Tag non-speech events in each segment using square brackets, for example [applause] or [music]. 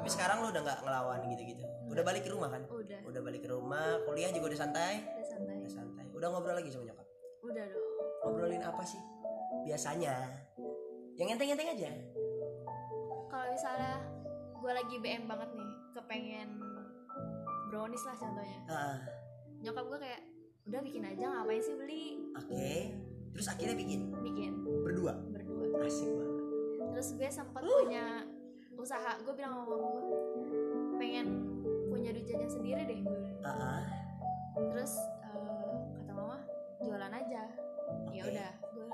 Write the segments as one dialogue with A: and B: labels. A: tapi sekarang lu udah nggak ngelawan gitu-gitu udah balik ke rumah kan
B: udah
A: udah balik ke rumah kuliah juga udah santai
B: udah santai
A: udah santai udah ngobrol lagi sama nyokap
B: udah dong
A: ngobrolin apa sih biasanya yang enteng-enteng aja
B: kalau misalnya gue lagi BM banget nih kepengen brownies lah contohnya
A: Ah,
B: nyokap gue kayak udah bikin aja ngapain sih beli
A: oke terus akhirnya bikin
B: bikin
A: berdua
B: berdua
A: asik banget
B: terus gue sempat punya usaha gue bilang sama mama gue pengen punya duit jajan sendiri deh gue
A: Ah, ah,
B: terus eh, kata mama jualan aja
A: Oke.
B: ya udah gue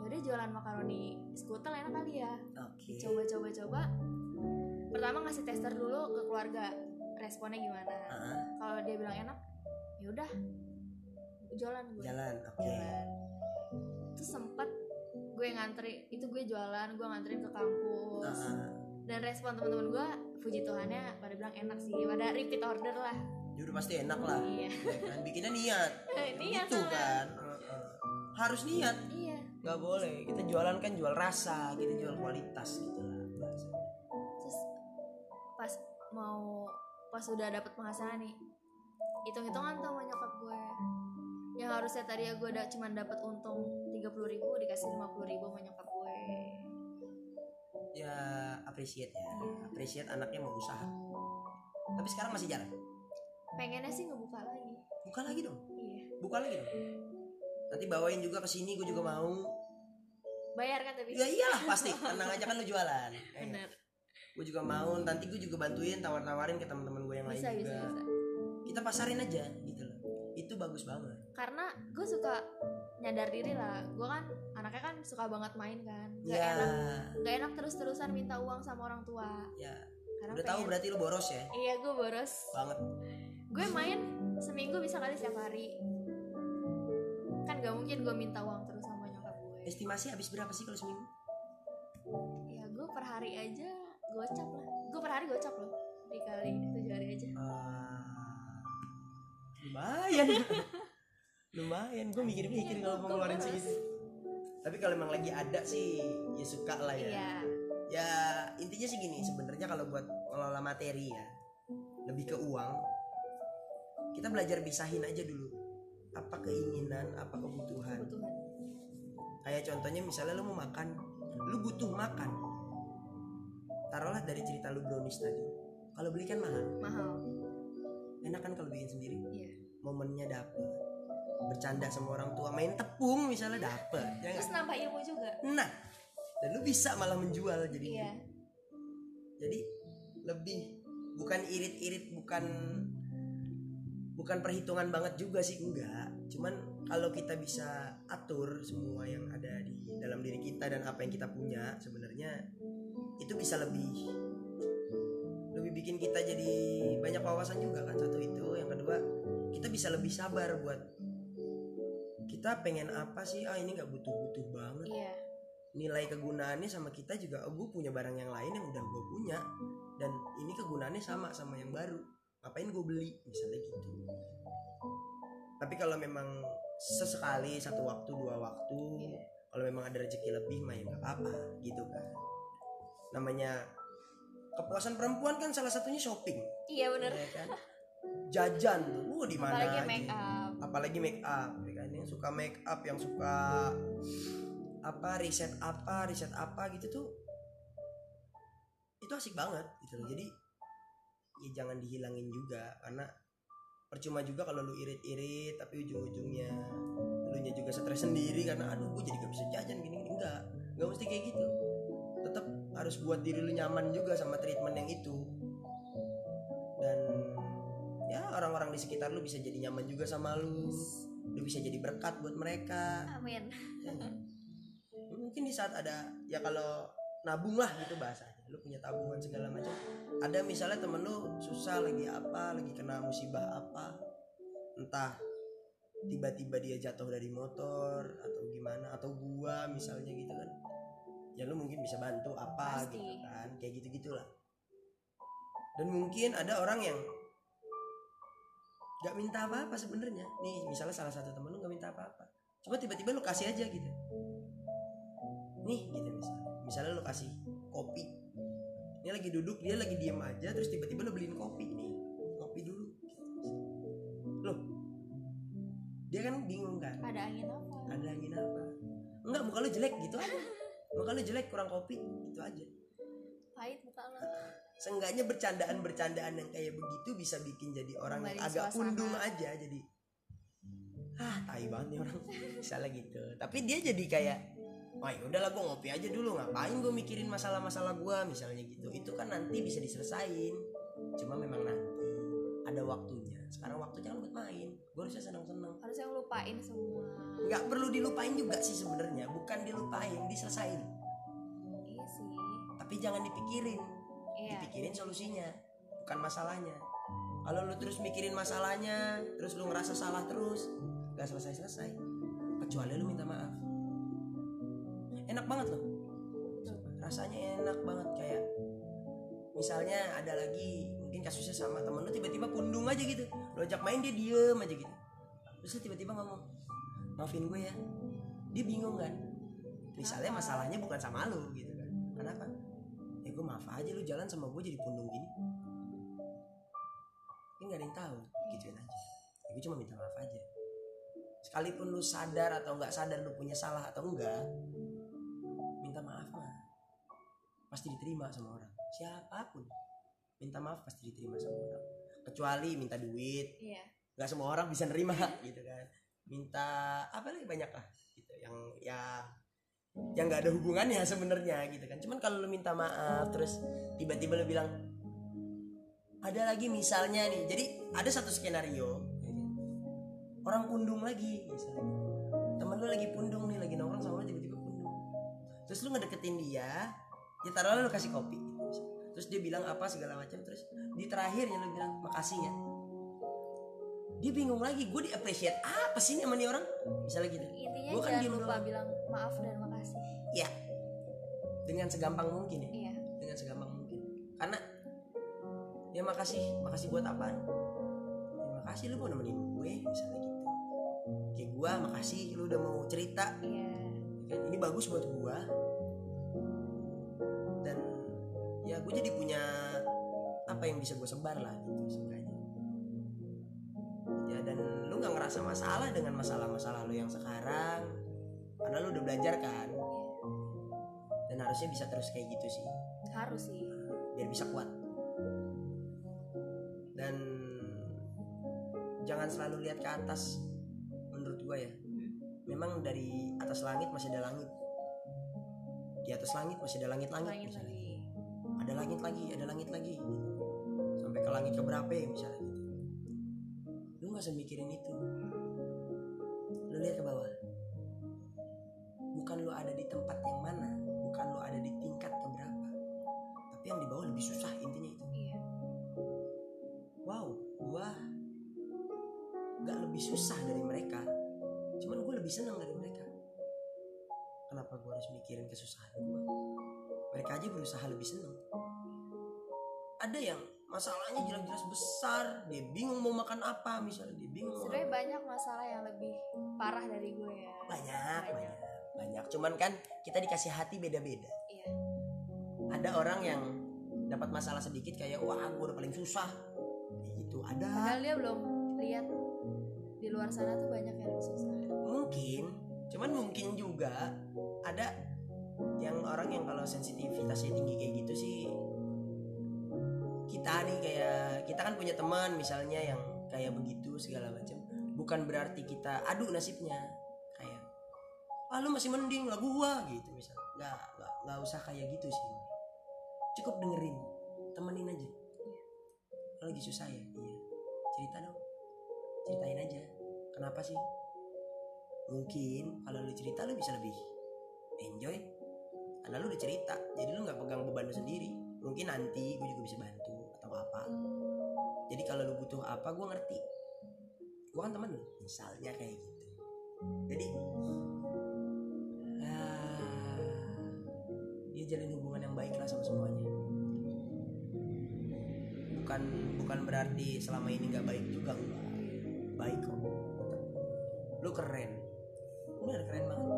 B: ya udah jualan makaroni skutel enak kali ya
A: oke
B: coba coba coba pertama ngasih tester dulu ke keluarga responnya gimana
A: Ah, ah,
B: kalau dia bilang enak ya udah jualan gue
A: jalan oke
B: jalan terus sempet gue ngantri itu gue jualan gue nganterin ke kampus
A: Ah, ah.
B: dan respon teman-teman gue puji tuhannya pada bilang enak sih pada repeat order lah
A: Ya udah pasti enak lah
B: iya [laughs]
A: ya kan bikinnya niat
B: Niat
A: gitu
B: soalnya.
A: kan Heeh. harus niat
B: iya
A: nggak boleh kita jualan kan jual rasa kita jual kualitas gitu lah bahasanya.
B: terus pas mau pas udah dapet penghasilan nih hitung-hitungan tuh sama nyokap gue yang harusnya tadi ya gue da cuma dapat untung 30.000 ribu dikasih 50.000 ribu sama nyokap gue
A: ya appreciate ya appreciate anaknya mau usaha tapi sekarang masih jarang
B: pengennya sih ngebuka lagi
A: buka lagi dong
B: iya
A: buka lagi dong nanti bawain juga ke sini gue juga mau
B: bayar kan tapi
A: ya iyalah pasti tenang aja kan lu jualan
B: bener
A: gue juga mau nanti gue juga bantuin tawar-tawarin ke teman-teman gue yang lain
B: bisa
A: juga
B: bisa bisa
A: kita pasarin aja gitu loh itu bagus banget
B: karena gue suka nyadar diri lah gue kan anaknya kan suka banget main kan gak
A: ya
B: enak gak enak terus-terusan minta uang sama orang tua
A: ya
B: karena
A: udah tahu
B: pengen-
A: berarti lu boros ya
B: iya gue boros
A: banget
B: gue main seminggu bisa kali setiap hari kan gak mungkin gue minta uang terus sama nyokap gue
A: estimasi habis berapa sih kalau seminggu
B: ya gue per hari aja gocap lah gue per hari gocap loh dikali tujuh hari aja
A: Ah, lumayan [laughs] lumayan gue mikir-mikir
B: Iya,
A: kalau
B: gua-
A: mau
B: gua
A: ngeluarin
B: boros.
A: segitu tapi kalau emang lagi ada sih ya suka lah ya
B: iya
A: ya intinya sih gini sebenarnya kalau buat ngelola materi ya lebih ke uang kita belajar pisahin aja dulu apa keinginan apa kebutuhan
B: kebutuhan
A: kayak contohnya misalnya lu mau makan lu butuh makan taruhlah dari cerita lu brownies tadi kalau beli kan mahal
B: mahal
A: enak kan kalau bikin sendiri
B: Iya.
A: momennya dapet bercanda sama orang tua main tepung misalnya dapet ya nggak?
B: terus nambah ilmu juga
A: nah dan lu bisa malah menjual jadi gitu.
B: iya
A: jadi lebih bukan irit-irit bukan bukan perhitungan banget juga sih enggak cuman kalau kita bisa atur semua yang ada di dalam diri kita dan apa yang kita punya sebenarnya itu bisa lebih lebih bikin kita jadi banyak wawasan juga kan satu itu yang kedua kita bisa lebih sabar buat kita pengen apa sih ah ini nggak butuh-butuh banget
B: iya
A: nilai kegunaannya sama kita juga oh, gue punya barang yang lain yang udah gue punya dan ini kegunaannya sama sama yang baru ngapain gue beli misalnya gitu tapi kalau memang sesekali satu waktu dua waktu
B: Iya.
A: kalau memang ada rezeki lebih mah ya nggak apa-apa gitu kan namanya kepuasan perempuan kan salah satunya shopping
B: iya bener
A: ya kan jajan tuh Wuh, di mana
B: apalagi
A: aja
B: make up
A: apalagi make up ya kan yang suka make up yang suka apa riset apa riset apa gitu tuh itu asik banget gitu loh jadi ya jangan dihilangin juga karena percuma juga kalau lu irit-irit tapi ujung-ujungnya lu nya juga stres sendiri karena aduh gue jadi gak bisa jajan gini gini enggak enggak mesti kayak gitu tetap harus buat diri lu nyaman juga sama treatment yang itu dan ya orang-orang di sekitar lu bisa jadi nyaman juga sama lu lu bisa jadi berkat buat mereka
B: amin
A: Ya nggak? mungkin di saat ada ya kalau nabung lah gitu bahasanya lu punya tabungan segala macam ada misalnya temen lu susah lagi apa lagi kena musibah apa entah tiba-tiba dia jatuh dari motor atau gimana atau gua misalnya gitu kan ya lu mungkin bisa bantu apa
B: Pasti.
A: gitu kan kayak gitu gitulah dan mungkin ada orang yang gak minta apa-apa sebenarnya nih misalnya salah satu temen lu gak minta apa-apa cuma tiba-tiba lu kasih aja gitu nih gitu misalnya misalnya lu kasih kopi ini lagi duduk dia lagi diem aja terus tiba-tiba lo beliin kopi nih kopi dulu loh dia kan bingung kan
B: ada angin apa
A: ada angin apa enggak muka lu jelek gitu aja muka lu jelek kurang kopi gitu aja
B: pahit muka lo
A: seenggaknya bercandaan-bercandaan yang kayak begitu bisa bikin jadi orang yang
B: Kembali
A: agak
B: suasana.
A: undung aja jadi ah tai banget nih orang misalnya gitu tapi dia jadi kayak wah udahlah gue ngopi aja dulu ngapain gue mikirin masalah-masalah gue misalnya gitu itu kan nanti bisa diselesain cuma memang nanti ada waktunya sekarang waktunya kan buat main gue harusnya senang-senang
B: harusnya ngelupain semua
A: nggak perlu dilupain juga sih sebenarnya bukan dilupain diselesain
B: iya sih
A: tapi jangan dipikirin
B: iya
A: dipikirin solusinya bukan masalahnya kalau lu terus mikirin masalahnya terus lu ngerasa salah terus gak selesai selesai kecuali lu minta maaf enak banget loh rasanya enak banget kayak misalnya ada lagi mungkin kasusnya sama temen lu tiba-tiba pundung aja gitu lu ajak main dia diem aja gitu terus lu tiba-tiba ngomong maafin gue ya dia bingung kan misalnya
B: Kenapa?
A: masalahnya bukan sama lu gitu kan kenapa ya gue maaf aja lu jalan sama gue jadi pundung gini ini gak ada yang tahu gituin aja ya, gue cuma minta maaf aja sekalipun lu sadar atau nggak sadar lu punya salah atau enggak minta maaf mah pasti diterima sama orang siapapun minta maaf pasti diterima sama orang kecuali minta duit
B: iya
A: nggak semua orang bisa nerima [laughs] gitu kan minta apa lagi banyak lah gitu yang ya yang nggak ada hubungannya sebenarnya gitu kan cuman kalau lu minta maaf terus tiba-tiba lu bilang ada lagi misalnya nih jadi ada satu skenario ya kan? orang pundung lagi misalnya temen lu lagi pundung nih lagi nongkrong sama lu tiba-tiba pundung terus lu ngedeketin dia ya taruhlah lu kasih kopi terus dia bilang apa segala macam terus di terakhirnya lu bilang makasih ya dia bingung lagi gue di appreciate apa sih nih sama nih orang misalnya gitu
B: intinya
A: Gua kan
B: jangan
A: diem
B: lupa
A: doang.
B: bilang maaf dan makasih
A: ya dengan segampang mungkin ya
B: iya
A: dengan segampang mungkin karena ya makasih makasih buat apaan ya makasih lu mau nemenin gue misalnya gitu kayak gue makasih lu udah mau cerita
B: iya
A: kan ini bagus buat gua dan ya gue jadi punya apa yang bisa gue sebar lah gitu seenggaknya ya dan lu nggak ngerasa masalah dengan masalah-masalah lu yang sekarang karena lu udah belajar kan dan harusnya bisa terus kayak gitu sih
B: harus sih
A: biar bisa kuat dan jangan selalu lihat ke atas menurut gue ya memang dari atas langit masih ada langit di atas langit masih ada langit langit
B: langit
A: misalnya
B: lagi
A: ada langit lagi ada langit lagi gitu. sampai ke langit keberapa ya misalnya gitu. lu nggak usah mikirin itu lu lihat ke bawah bukan lu ada di tempat yang mana bukan lu ada di tingkat keberapa tapi yang di bawah lebih susah intinya itu
B: iya
A: wow gua gak lebih susah dari mereka cuman gue lebih senang dari mereka kenapa gue harus mikirin kesusahan gue mereka aja berusaha lebih senang ada yang masalahnya jelas-jelas besar dia bingung mau makan apa misalnya dia bingung mau
B: sebenarnya banyak masalah yang lebih parah dari gue ya
A: banyak banyak banyak cuman kan kita dikasih hati beda-beda
B: Iya.
A: ada orang yang dapat masalah sedikit kayak wah gue udah paling susah Kayak gitu ada
B: padahal dia belum lihat di luar sana tuh banyak yang lebih susah
A: mungkin cuman mungkin juga ada yang orang yang kalau sensitivitasnya tinggi kayak gitu sih kita nih kayak kita kan punya teman misalnya yang kayak begitu segala macam bukan berarti kita aduh nasibnya kayak ah lu masih mending lah gua gitu misalnya nggak nggak nggak usah kayak gitu sih cukup dengerin temenin aja Lu lagi susah ya iya cerita dong ceritain aja kenapa sih mungkin kalau lu cerita lu bisa lebih enjoy karena lu udah cerita jadi lu nggak pegang beban lu sendiri mungkin nanti gue juga bisa bantu atau apa jadi kalau lu butuh apa gue ngerti gue kan temen lu misalnya kayak gitu jadi ah, dia jalin hubungan yang baik lah sama semuanya bukan bukan berarti selama ini nggak baik juga enggak baik kok lu keren lu udah keren banget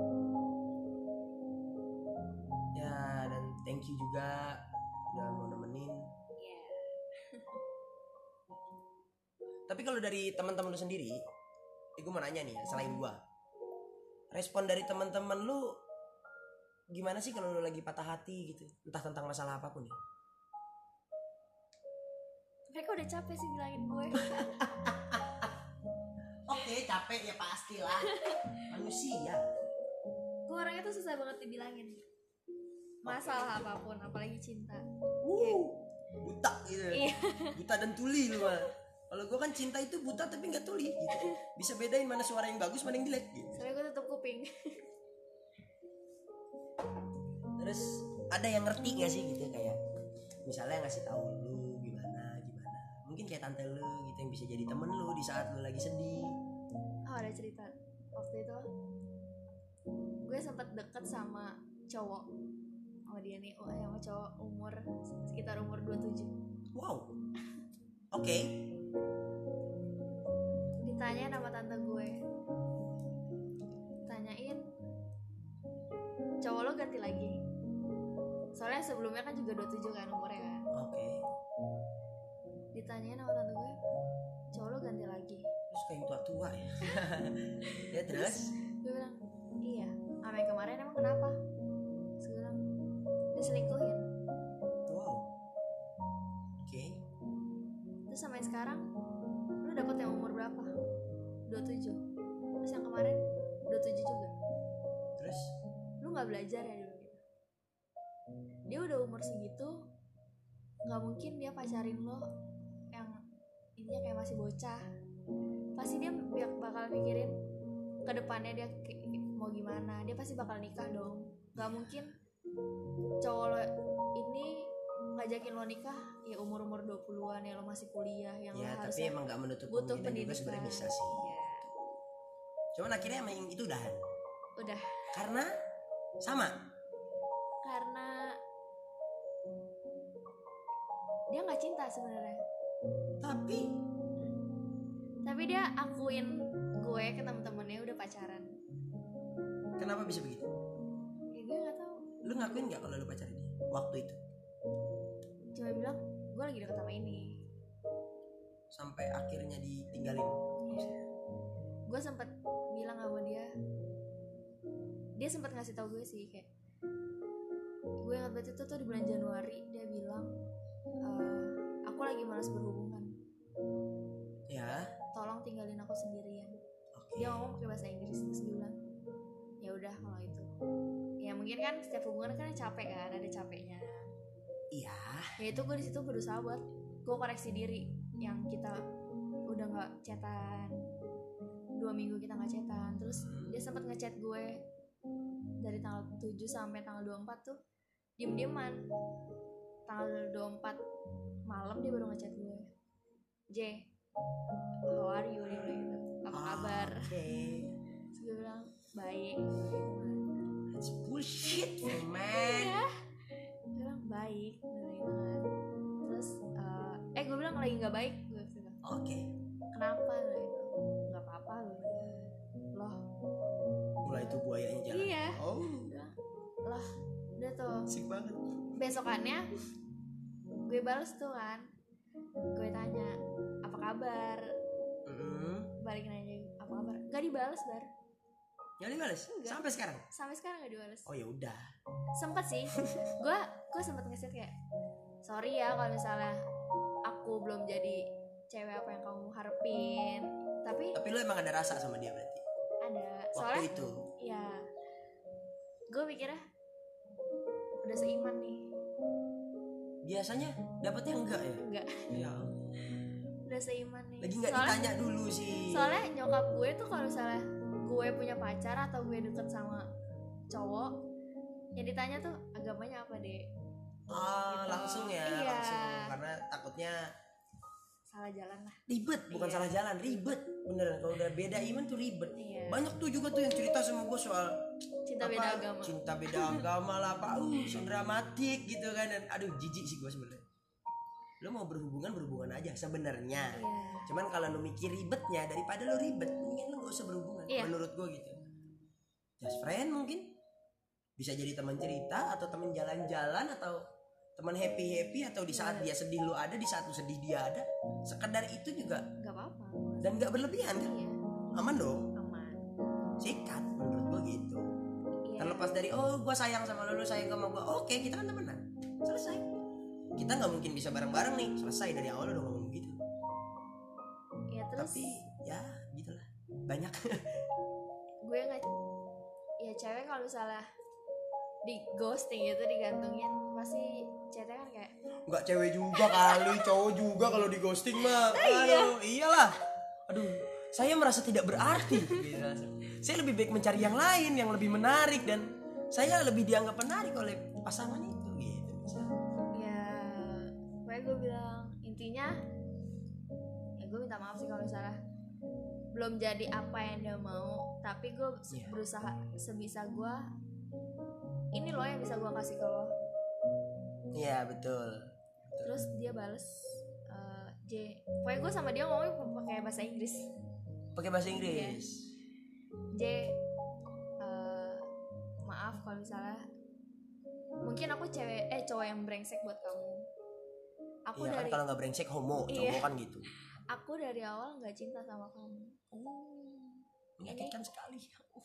A: ya dan thank you juga udah mau nemenin
B: Iya.
A: tapi kalau dari teman-teman lu sendiri eh, gue mau nanya nih ya, selain gua respon dari teman-teman lu gimana sih kalau lu lagi patah hati gitu entah tentang masalah apapun ya
B: mereka udah capek sih bilangin gue
A: oke capek ya pastilah [laughs] manusia
B: gue orangnya tuh susah banget dibilangin masalah apapun apalagi cinta
A: Wuh, Iya. buta gitu
B: Iya.
A: buta dan tuli lu mah kalau gua kan cinta itu buta tapi nggak tuli gitu bisa bedain mana suara yang bagus mana yang jelek gitu
B: soalnya gue tutup kuping
A: terus ada yang ngerti gak sih gitu kayak misalnya ngasih tahu lu gimana gimana mungkin kayak tante lu gitu yang bisa jadi temen lu di saat lu lagi sedih
B: oh ada cerita waktu itu gue sempet deket sama cowok sama dia nih oh, sama cowok umur sekitar umur 27
A: wow oke
B: ditanya nama tante gue tanyain cowok lo ganti lagi soalnya sebelumnya kan juga 27 kan umurnya kan
A: oke
B: ditanyain sama tante gue cowok lo ganti lagi
A: terus kayak tua tua
B: [laughs]
A: ya ya terus
B: gue bilang iya sama yang kemarin emang kenapa terus gue bilang diselingkuhin
A: wow oke
B: terus sampai sekarang lu dapet yang umur berapa 27 terus yang kemarin 27 juga
A: terus
B: lu nggak belajar ya dia bilang gitu. dia udah umur segitu nggak mungkin dia pacarin lo yang intinya kayak masih bocah pasti dia bak- bakal mikirin ke depannya dia kayak mau gimana dia pasti bakal nikah dong nggak mungkin cowok lo ini ngajakin lo nikah ya umur umur 20-an ya lo masih kuliah yang
A: ya
B: lo harus
A: tapi emang nggak menutup
B: butuh
A: kemungkinan juga
B: pendidikan
A: sebenarnya bisa sih
B: Iya.
A: cuman akhirnya emang yang itu udahan
B: udah
A: karena sama
B: karena dia nggak cinta sebenarnya
A: tapi
B: tapi dia akuin gue ke temen-temennya udah pacaran
A: kenapa bisa begitu
B: ya gue nggak tahu
A: lu ngakuin nggak kalau lu pacaran dia waktu itu
B: cuma bilang gue lagi deket sama ini
A: sampai akhirnya ditinggalin
B: gue sempet bilang sama dia dia sempet ngasih tau gue sih kayak gue ingat banget itu tuh di bulan Januari dia bilang "Eh, aku lagi malas berhubungan
A: ya
B: tolong tinggalin aku sendirian
A: oke
B: dia ngomong pakai bahasa Inggris terus dia bilang ya udah kalau itu ya mungkin kan setiap hubungan kan capek kan ada capeknya
A: iya
B: ya itu gue di situ berusaha buat gue koreksi diri yang kita udah nggak chatan dua minggu kita nggak chatan terus dia sempat ngechat gue dari tanggal 7 sampai tanggal 24 tuh diem dieman tanggal 24 malam dia baru ngechat gue J how are you dia bilang gitu apa
A: Ah,
B: kabar
A: oke
B: Terus gue bilang baik
A: That's bullshit man
B: Iya. Gue bilang baik beneran. terus eh, eh gue bilang lagi nggak baik gue bilang
A: oke
B: kenapa Dia bilang, nggak apa-apa gue bilang. loh
A: mulai itu buayanya jalan
B: Iya.
A: oh
B: udah tuh
A: asik banget
B: besokannya gue balas tuh kan gue tanya apa kabar
A: Mm-mm.
B: balik nanya apa kabar nggak dibales bar
A: Jangan dibales
B: Enggak.
A: sampai sekarang
B: sampai sekarang nggak dibales
A: oh ya udah
B: sempet
A: [laughs]
B: sih gue gue sempet ngeset kayak sorry ya kalau misalnya aku belum jadi cewek apa yang kamu harapin tapi
A: tapi lu emang ada rasa sama dia berarti
B: ada
A: waktu
B: soalnya
A: itu
B: ya gue mikirnya udah seiman nih
A: biasanya dapetnya enggak ya
B: enggak
A: ya
B: udah seiman nih
A: lagi nggak
B: soalnya
A: ditanya dulu sih
B: soalnya nyokap gue tuh kalau misalnya gue punya pacar atau gue deket sama cowok yang ditanya tuh agamanya apa deh
A: ah
B: gitu.
A: langsung ya
B: Iya.
A: langsung karena takutnya
B: salah jalan lah
A: ribet bukan
B: Iya.
A: salah jalan ribet beneran kalau udah beda iman tuh ribet
B: iya
A: banyak tuh juga tuh yang cerita sama gue soal
B: cinta
A: apa,
B: beda agama
A: cinta beda agama lah pak uh so dramatik gitu kan dan aduh jijik sih gue sebenarnya lo mau berhubungan berhubungan aja sebenarnya
B: iya
A: cuman kalau lo mikir ribetnya daripada lo ribet mendingan lo gak usah berhubungan
B: Iya.
A: menurut gue gitu just friend mungkin bisa jadi teman cerita atau teman jalan-jalan atau teman happy happy atau di
B: Iya.
A: saat dia sedih lu ada di saat lu sedih dia ada sekedar itu juga
B: nggak apa-apa
A: dan nggak berlebihan kan
B: iya
A: aman dong
B: aman
A: sikat menurut gua gitu
B: iya
A: terlepas dari oh gua sayang sama lu lu sayang sama gua oke kita kan temenan selesai kita nggak mungkin bisa bareng bareng nih selesai dari awal udah ngomong gitu
B: ya terus
A: tapi ya gitulah banyak [laughs]
B: gue nggak ya cewek kalau misalnya di ghosting gitu digantungin pasti cewek kan kayak
A: nggak cewek juga kali cowok juga kalau di ghosting
B: Nah,
A: mah
B: iya.
A: aduh iyalah aduh saya merasa tidak berarti [laughs] gitu rasanya. saya lebih baik mencari yang lain yang lebih menarik dan saya lebih dianggap menarik oleh pasangan itu gitu misalnya.
B: ya pokoknya gue bilang intinya ya gue minta maaf sih kalau misalnya belum jadi apa yang dia mau tapi gue se-
A: Iya.
B: berusaha sebisa gue ini loh yang bisa gue kasih ke lo
A: iya betul
B: terus dia bales eh, J pokoknya gue sama dia ngomong pakai bahasa Inggris
A: pakai bahasa Inggris
B: Iya. J eh, maaf kalau misalnya mungkin aku cewek eh cowok yang brengsek buat kamu aku
A: iya kan
B: dari
A: kalau nggak brengsek homo
B: Iya.
A: cowok kan gitu
B: aku dari awal nggak cinta sama kamu
A: Hmm. menyakitkan
B: Iya.
A: sekali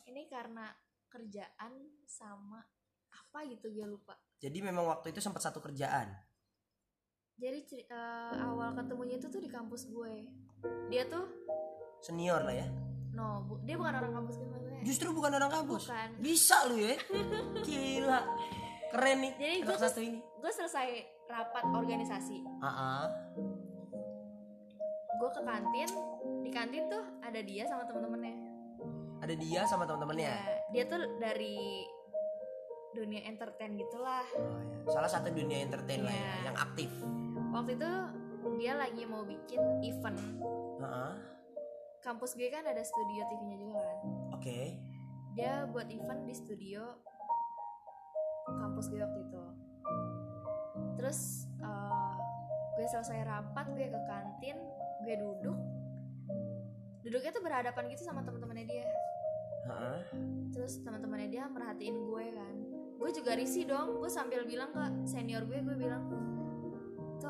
B: ini karena kerjaan sama apa gitu gue lupa
A: jadi memang waktu itu sempat satu kerjaan
B: jadi ceri- eh, awal ketemunya itu tuh di kampus gue dia tuh
A: senior lah ya
B: no bu- dia bukan orang kampus gue maksudnya
A: justru bukan orang kampus
B: Hmm. bukan
A: bisa lu
B: [laughs]
A: ya gila keren nih
B: Jadi
A: anak
B: gua-
A: satu ini
B: gue selesai rapat organisasi
A: Ah, ah.
B: gue ke kantin di kantin tuh ada dia sama temen-temennya
A: ada dia sama teman-temannya.
B: Ya, dia tuh dari dunia entertain gitulah
A: Oh, ya. Salah satu dunia entertain lah ya,
B: Iya.
A: yang aktif.
B: waktu itu dia lagi mau bikin event
A: Ah, ah.
B: kampus gue kan ada studio TV-nya juga kan
A: Oke.
B: dia buat event di studio kampus gue waktu itu terus eh, gue selesai rapat gue ke kantin gue duduk duduknya tuh berhadapan gitu sama teman-temannya dia
A: Ah, ah.
B: terus teman-temannya dia merhatiin gue kan gue juga risih dong gue sambil bilang ke senior gue gue bilang tuh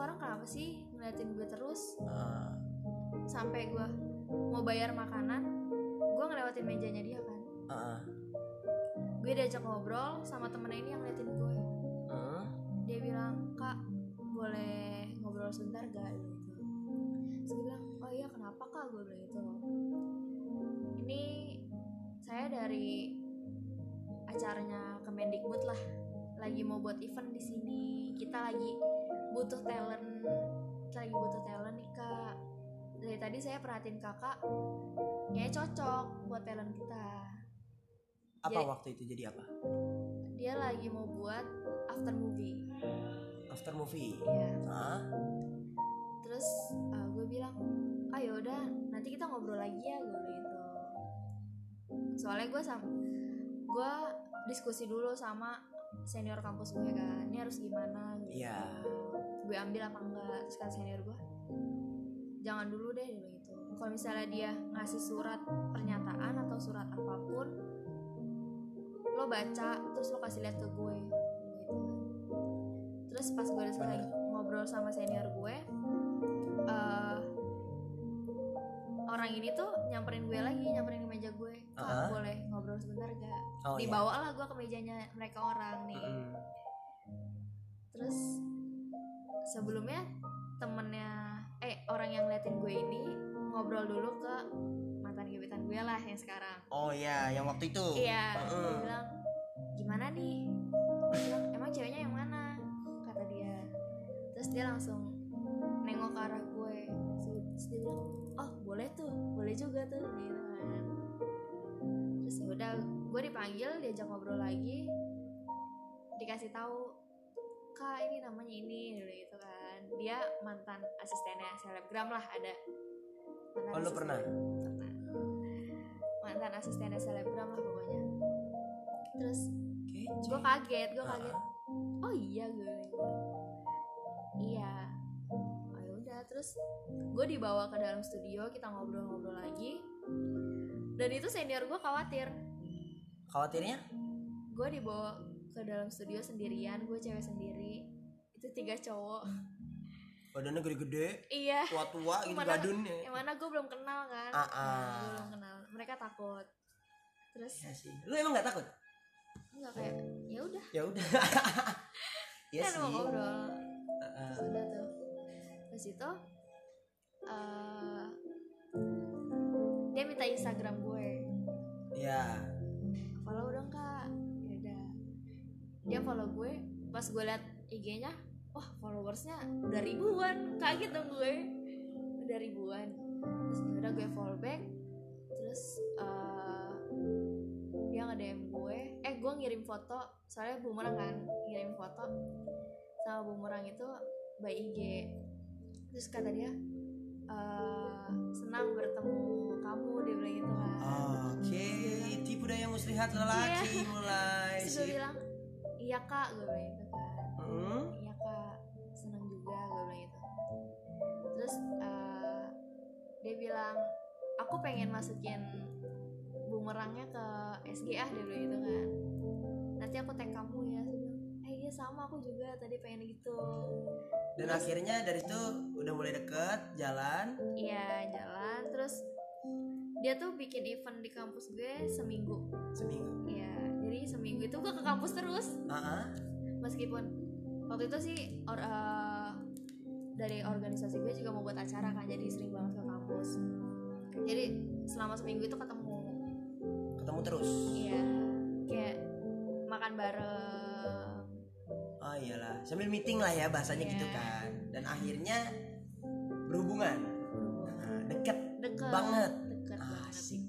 B: orang kenapa sih ngeliatin gue terus
A: Ah.
B: sampai gue mau bayar makanan gue ngelewatin mejanya dia kan
A: Ah, ah.
B: gue diajak ngobrol sama temennya ini yang ngeliatin gue
A: Ah.
B: dia bilang kak boleh ngobrol sebentar gak gitu terus gue bilang oh iya kenapa kak gue bilang gitu ini saya dari acaranya Kemendikbud lah lagi mau buat event di sini kita lagi butuh talent kita lagi butuh talent nih kak dari tadi saya perhatiin kakak kayaknya cocok buat talent kita
A: Apa
B: Jadi-
A: waktu itu jadi apa?
B: dia lagi mau buat after movie
A: After movie.
B: ya
A: Ah.
B: terus uh, gue bilang ah yaudah nanti kita ngobrol lagi ya gue bilang gitu soalnya gue sama gue diskusi dulu sama senior kampus gue kan ini harus gimana gitu
A: Iya.
B: gue ambil apa enggak terus kata senior gue jangan dulu deh dia bilang gitu kalau misalnya dia ngasih surat pernyataan atau surat apapun lo baca terus lo kasih lihat ke gue gitu terus pas gue udah selesai ngobrol sama senior gue eh, orang ini tuh nyamperin gue lagi nyamperin ke meja gue kak
A: Ah.
B: boleh ngobrol sebentar gak
A: Oh, iya.
B: dibawalah gue ke mejanya mereka orang nih
A: Mm-mm.
B: terus sebelumnya temennya eh orang yang ngeliatin gue ini ngobrol dulu ke mantan gebetan gue lah yang sekarang
A: Oh ya, yang waktu itu. Heeh.
B: Iya, dia bilang gimana nih? Dia bilang, Emang ceweknya yang mana? Kata dia. Terus dia langsung nengok ke arah gue. Terus dia bilang, oh boleh tuh, boleh juga tuh. Gitu kan. Terus ya udah, gue dipanggil, diajak ngobrol lagi, dikasih tahu kak ini namanya ini dulu gitu kan dia mantan asistennya selebgram lah ada
A: Oh,
B: mantan
A: lu
B: asisten.
A: pernah?
B: pernah mantan asistennya selebgram lah pokoknya terus
A: Kece.
B: gue kaget gue kaget
A: Ah.
B: oh iya gue bilang gitu. iya oh yaudah terus gue dibawa ke dalam studio kita ngobrol-ngobrol lagi dan itu senior gue khawatir
A: Khawatirnya?
B: gue dibawa ke dalam studio sendirian gue cewek sendiri itu itu tiga cowok
A: badannya gede-gede
B: iya
A: tua-tua gitu
B: Mana-
A: gadunnya
B: yang mana gue belum kenal kan
A: Ah, ah.
B: Nah, gue belum kenal mereka takut terus
A: ya sih lu emang gak takut
B: nggak kayak ya udah
A: ya
B: [laughs]
A: udah ya
B: kan
A: sih
B: mau ngobrol
A: Heeh.
B: Terus udah tuh terus itu eh, dia minta instagram gue
A: ya
B: follow dong kak ya udah dia follow gue pas gue liat ig-nya wah followersnya udah ribuan kaget dong gue udah ribuan terus ya udah gue follow back terus eh, dia nge DM gue eh gue ngirim foto soalnya bumerang kan ngirim foto sama bumerang itu by IG terus kata dia eh, senang bertemu kamu dia bilang gitu kan
A: oke tipu daya muslihat
B: Iya.
A: lelaki mulai
B: Terus gue
A: sih
B: bilang Iya kak Gue bilang gitu kan
A: Hmm?
B: Iya kak Seneng juga Gue bilang gitu Terus eh, Dia bilang Aku pengen masukin Bumerangnya ke SGA Dia bilang gitu kan Nanti aku tag kamu ya Saya bilang, Eh iya sama aku juga Tadi pengen gitu
A: dan akhirnya dari situ udah mulai deket jalan
B: Iya jalan Terus Dia tuh bikin event di kampus gue Seminggu
A: seminggu
B: Iya Jadi seminggu itu gue ke kampus terus
A: Heeh.
B: meskipun waktu itu sih or- eh, dari organisasi gue juga mau buat acara kan jadi sering banget ke kampus jadi selama seminggu itu ketemu
A: ketemu terus
B: iya kayak makan bareng
A: oh iyalah sambil meeting lah ya bahasanya
B: Iya.
A: gitu kan dan akhirnya berhubungan Nah, deket
B: deket
A: Banget. Ah,
B: deket banget
A: asik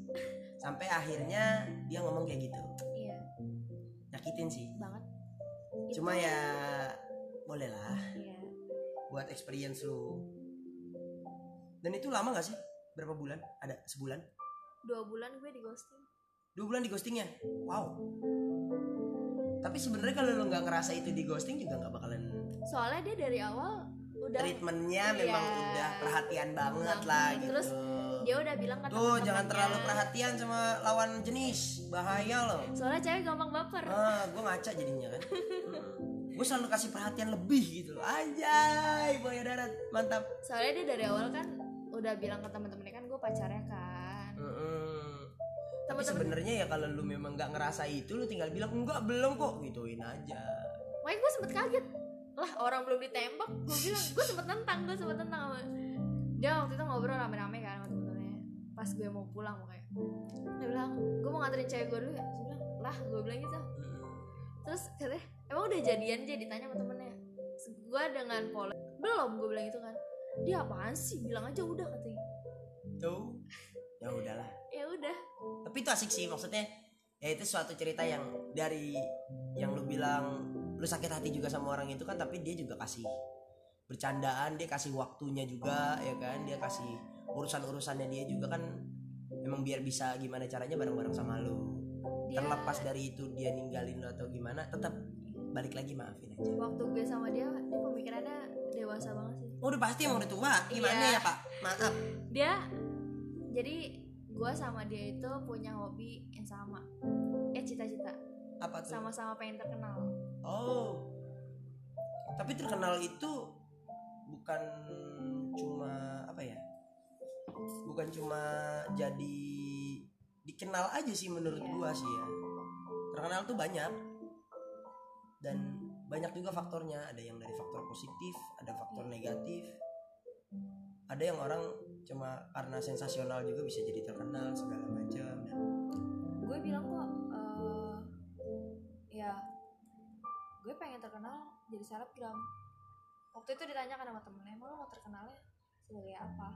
A: sampai akhirnya dia ngomong kayak gitu
B: iya
A: nyakitin sih
B: banget Itu-
A: cuma ya boleh lah
B: iya
A: buat experience lu dan itu lama gak sih berapa bulan ada sebulan
B: dua bulan gue di ghosting
A: dua bulan di ghostingnya wow tapi sebenarnya kalau lu nggak ngerasa itu di ghosting juga nggak bakalan
B: soalnya dia dari awal udah
A: treatmentnya
B: Iya.
A: memang udah perhatian banget
B: Banget.
A: lah gitu
B: Terus dia udah bilang kan ke
A: tuh
B: teman-temannya.
A: jangan terlalu perhatian sama lawan jenis bahaya loh
B: soalnya cewek gampang baper
A: ah gue ngaca jadinya
B: [laughs]
A: kan gue selalu kasih perhatian lebih gitu loh anjay boya darat mantap
B: soalnya dia dari awal kan udah bilang ke teman-temannya kan gue pacarnya kan
A: Mm-mm. Tapi
B: teman-teman
A: sebenarnya ya kalau lu memang nggak ngerasa itu lu tinggal bilang enggak belum kok gituin aja.
B: makanya gue sempet kaget lah orang belum ditembak gue bilang gue sempet nentang gue sempet nentang sama dia waktu itu ngobrol rame-rame kan sama temen-temennya pas gue mau pulang pokoknya dia bilang gue mau nganterin cewek gue dulu ya Terus dia bilang lah gue bilang gitu terus katanya emang udah jadian aja ditanya sama temennya Terus gue dengan pola belum gue bilang gitu kan dia apaan sih bilang aja udah katanya
A: Tuh. Ya udahlah.
B: ya udah
A: Tapi itu asik sih maksudnya. Ya itu suatu cerita yang dari yang lu bilang lu sakit hati juga sama orang itu kan tapi dia juga kasih bercandaan, dia kasih waktunya juga ya kan, dia kasih urusan-urusannya dia juga kan memang biar bisa gimana caranya bareng-bareng sama lu.
B: dia
A: Terlepas dari itu dia ninggalin lu atau gimana, tetap balik lagi maafin aja.
B: waktu gue sama dia dia pemikirannya dewasa banget sih
A: Oh, udah pasti emang udah tua. Gimana
B: Iya.
A: ya, Pak? Maaf.
B: dia jadi gue sama dia itu punya hobi yang sama eh cita-cita
A: Apa tuh?
B: sama-sama pengen terkenal
A: Oh. Tapi terkenal itu bukan cuma apa ya? Bukan cuma jadi dikenal aja sih menurut
B: Iya.
A: gua sih ya. Terkenal tuh banyak. Dan banyak juga faktornya, ada yang dari faktor positif, ada faktor negatif. Ada yang orang cuma karena sensasional juga bisa jadi terkenal segala macam dan
B: gue bilang kok eh, ya gue pengen terkenal jadi selebgram waktu itu ditanyakan sama temennya emang lo mau terkenalnya sebagai apa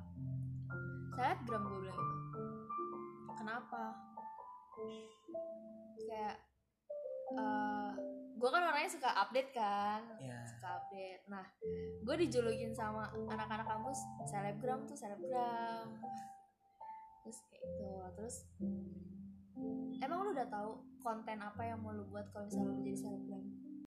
B: selebgram gue bilang gitu kenapa kayak eh, gue kan orangnya suka update kan
A: ya
B: suka update. Nah, gue dijulukin sama anak-anak kampus selebgram tuh selebgram. Terus kayak gitu. Terus emang lu udah tahu konten apa yang mau lu buat kalau misalnya lu jadi selebgram?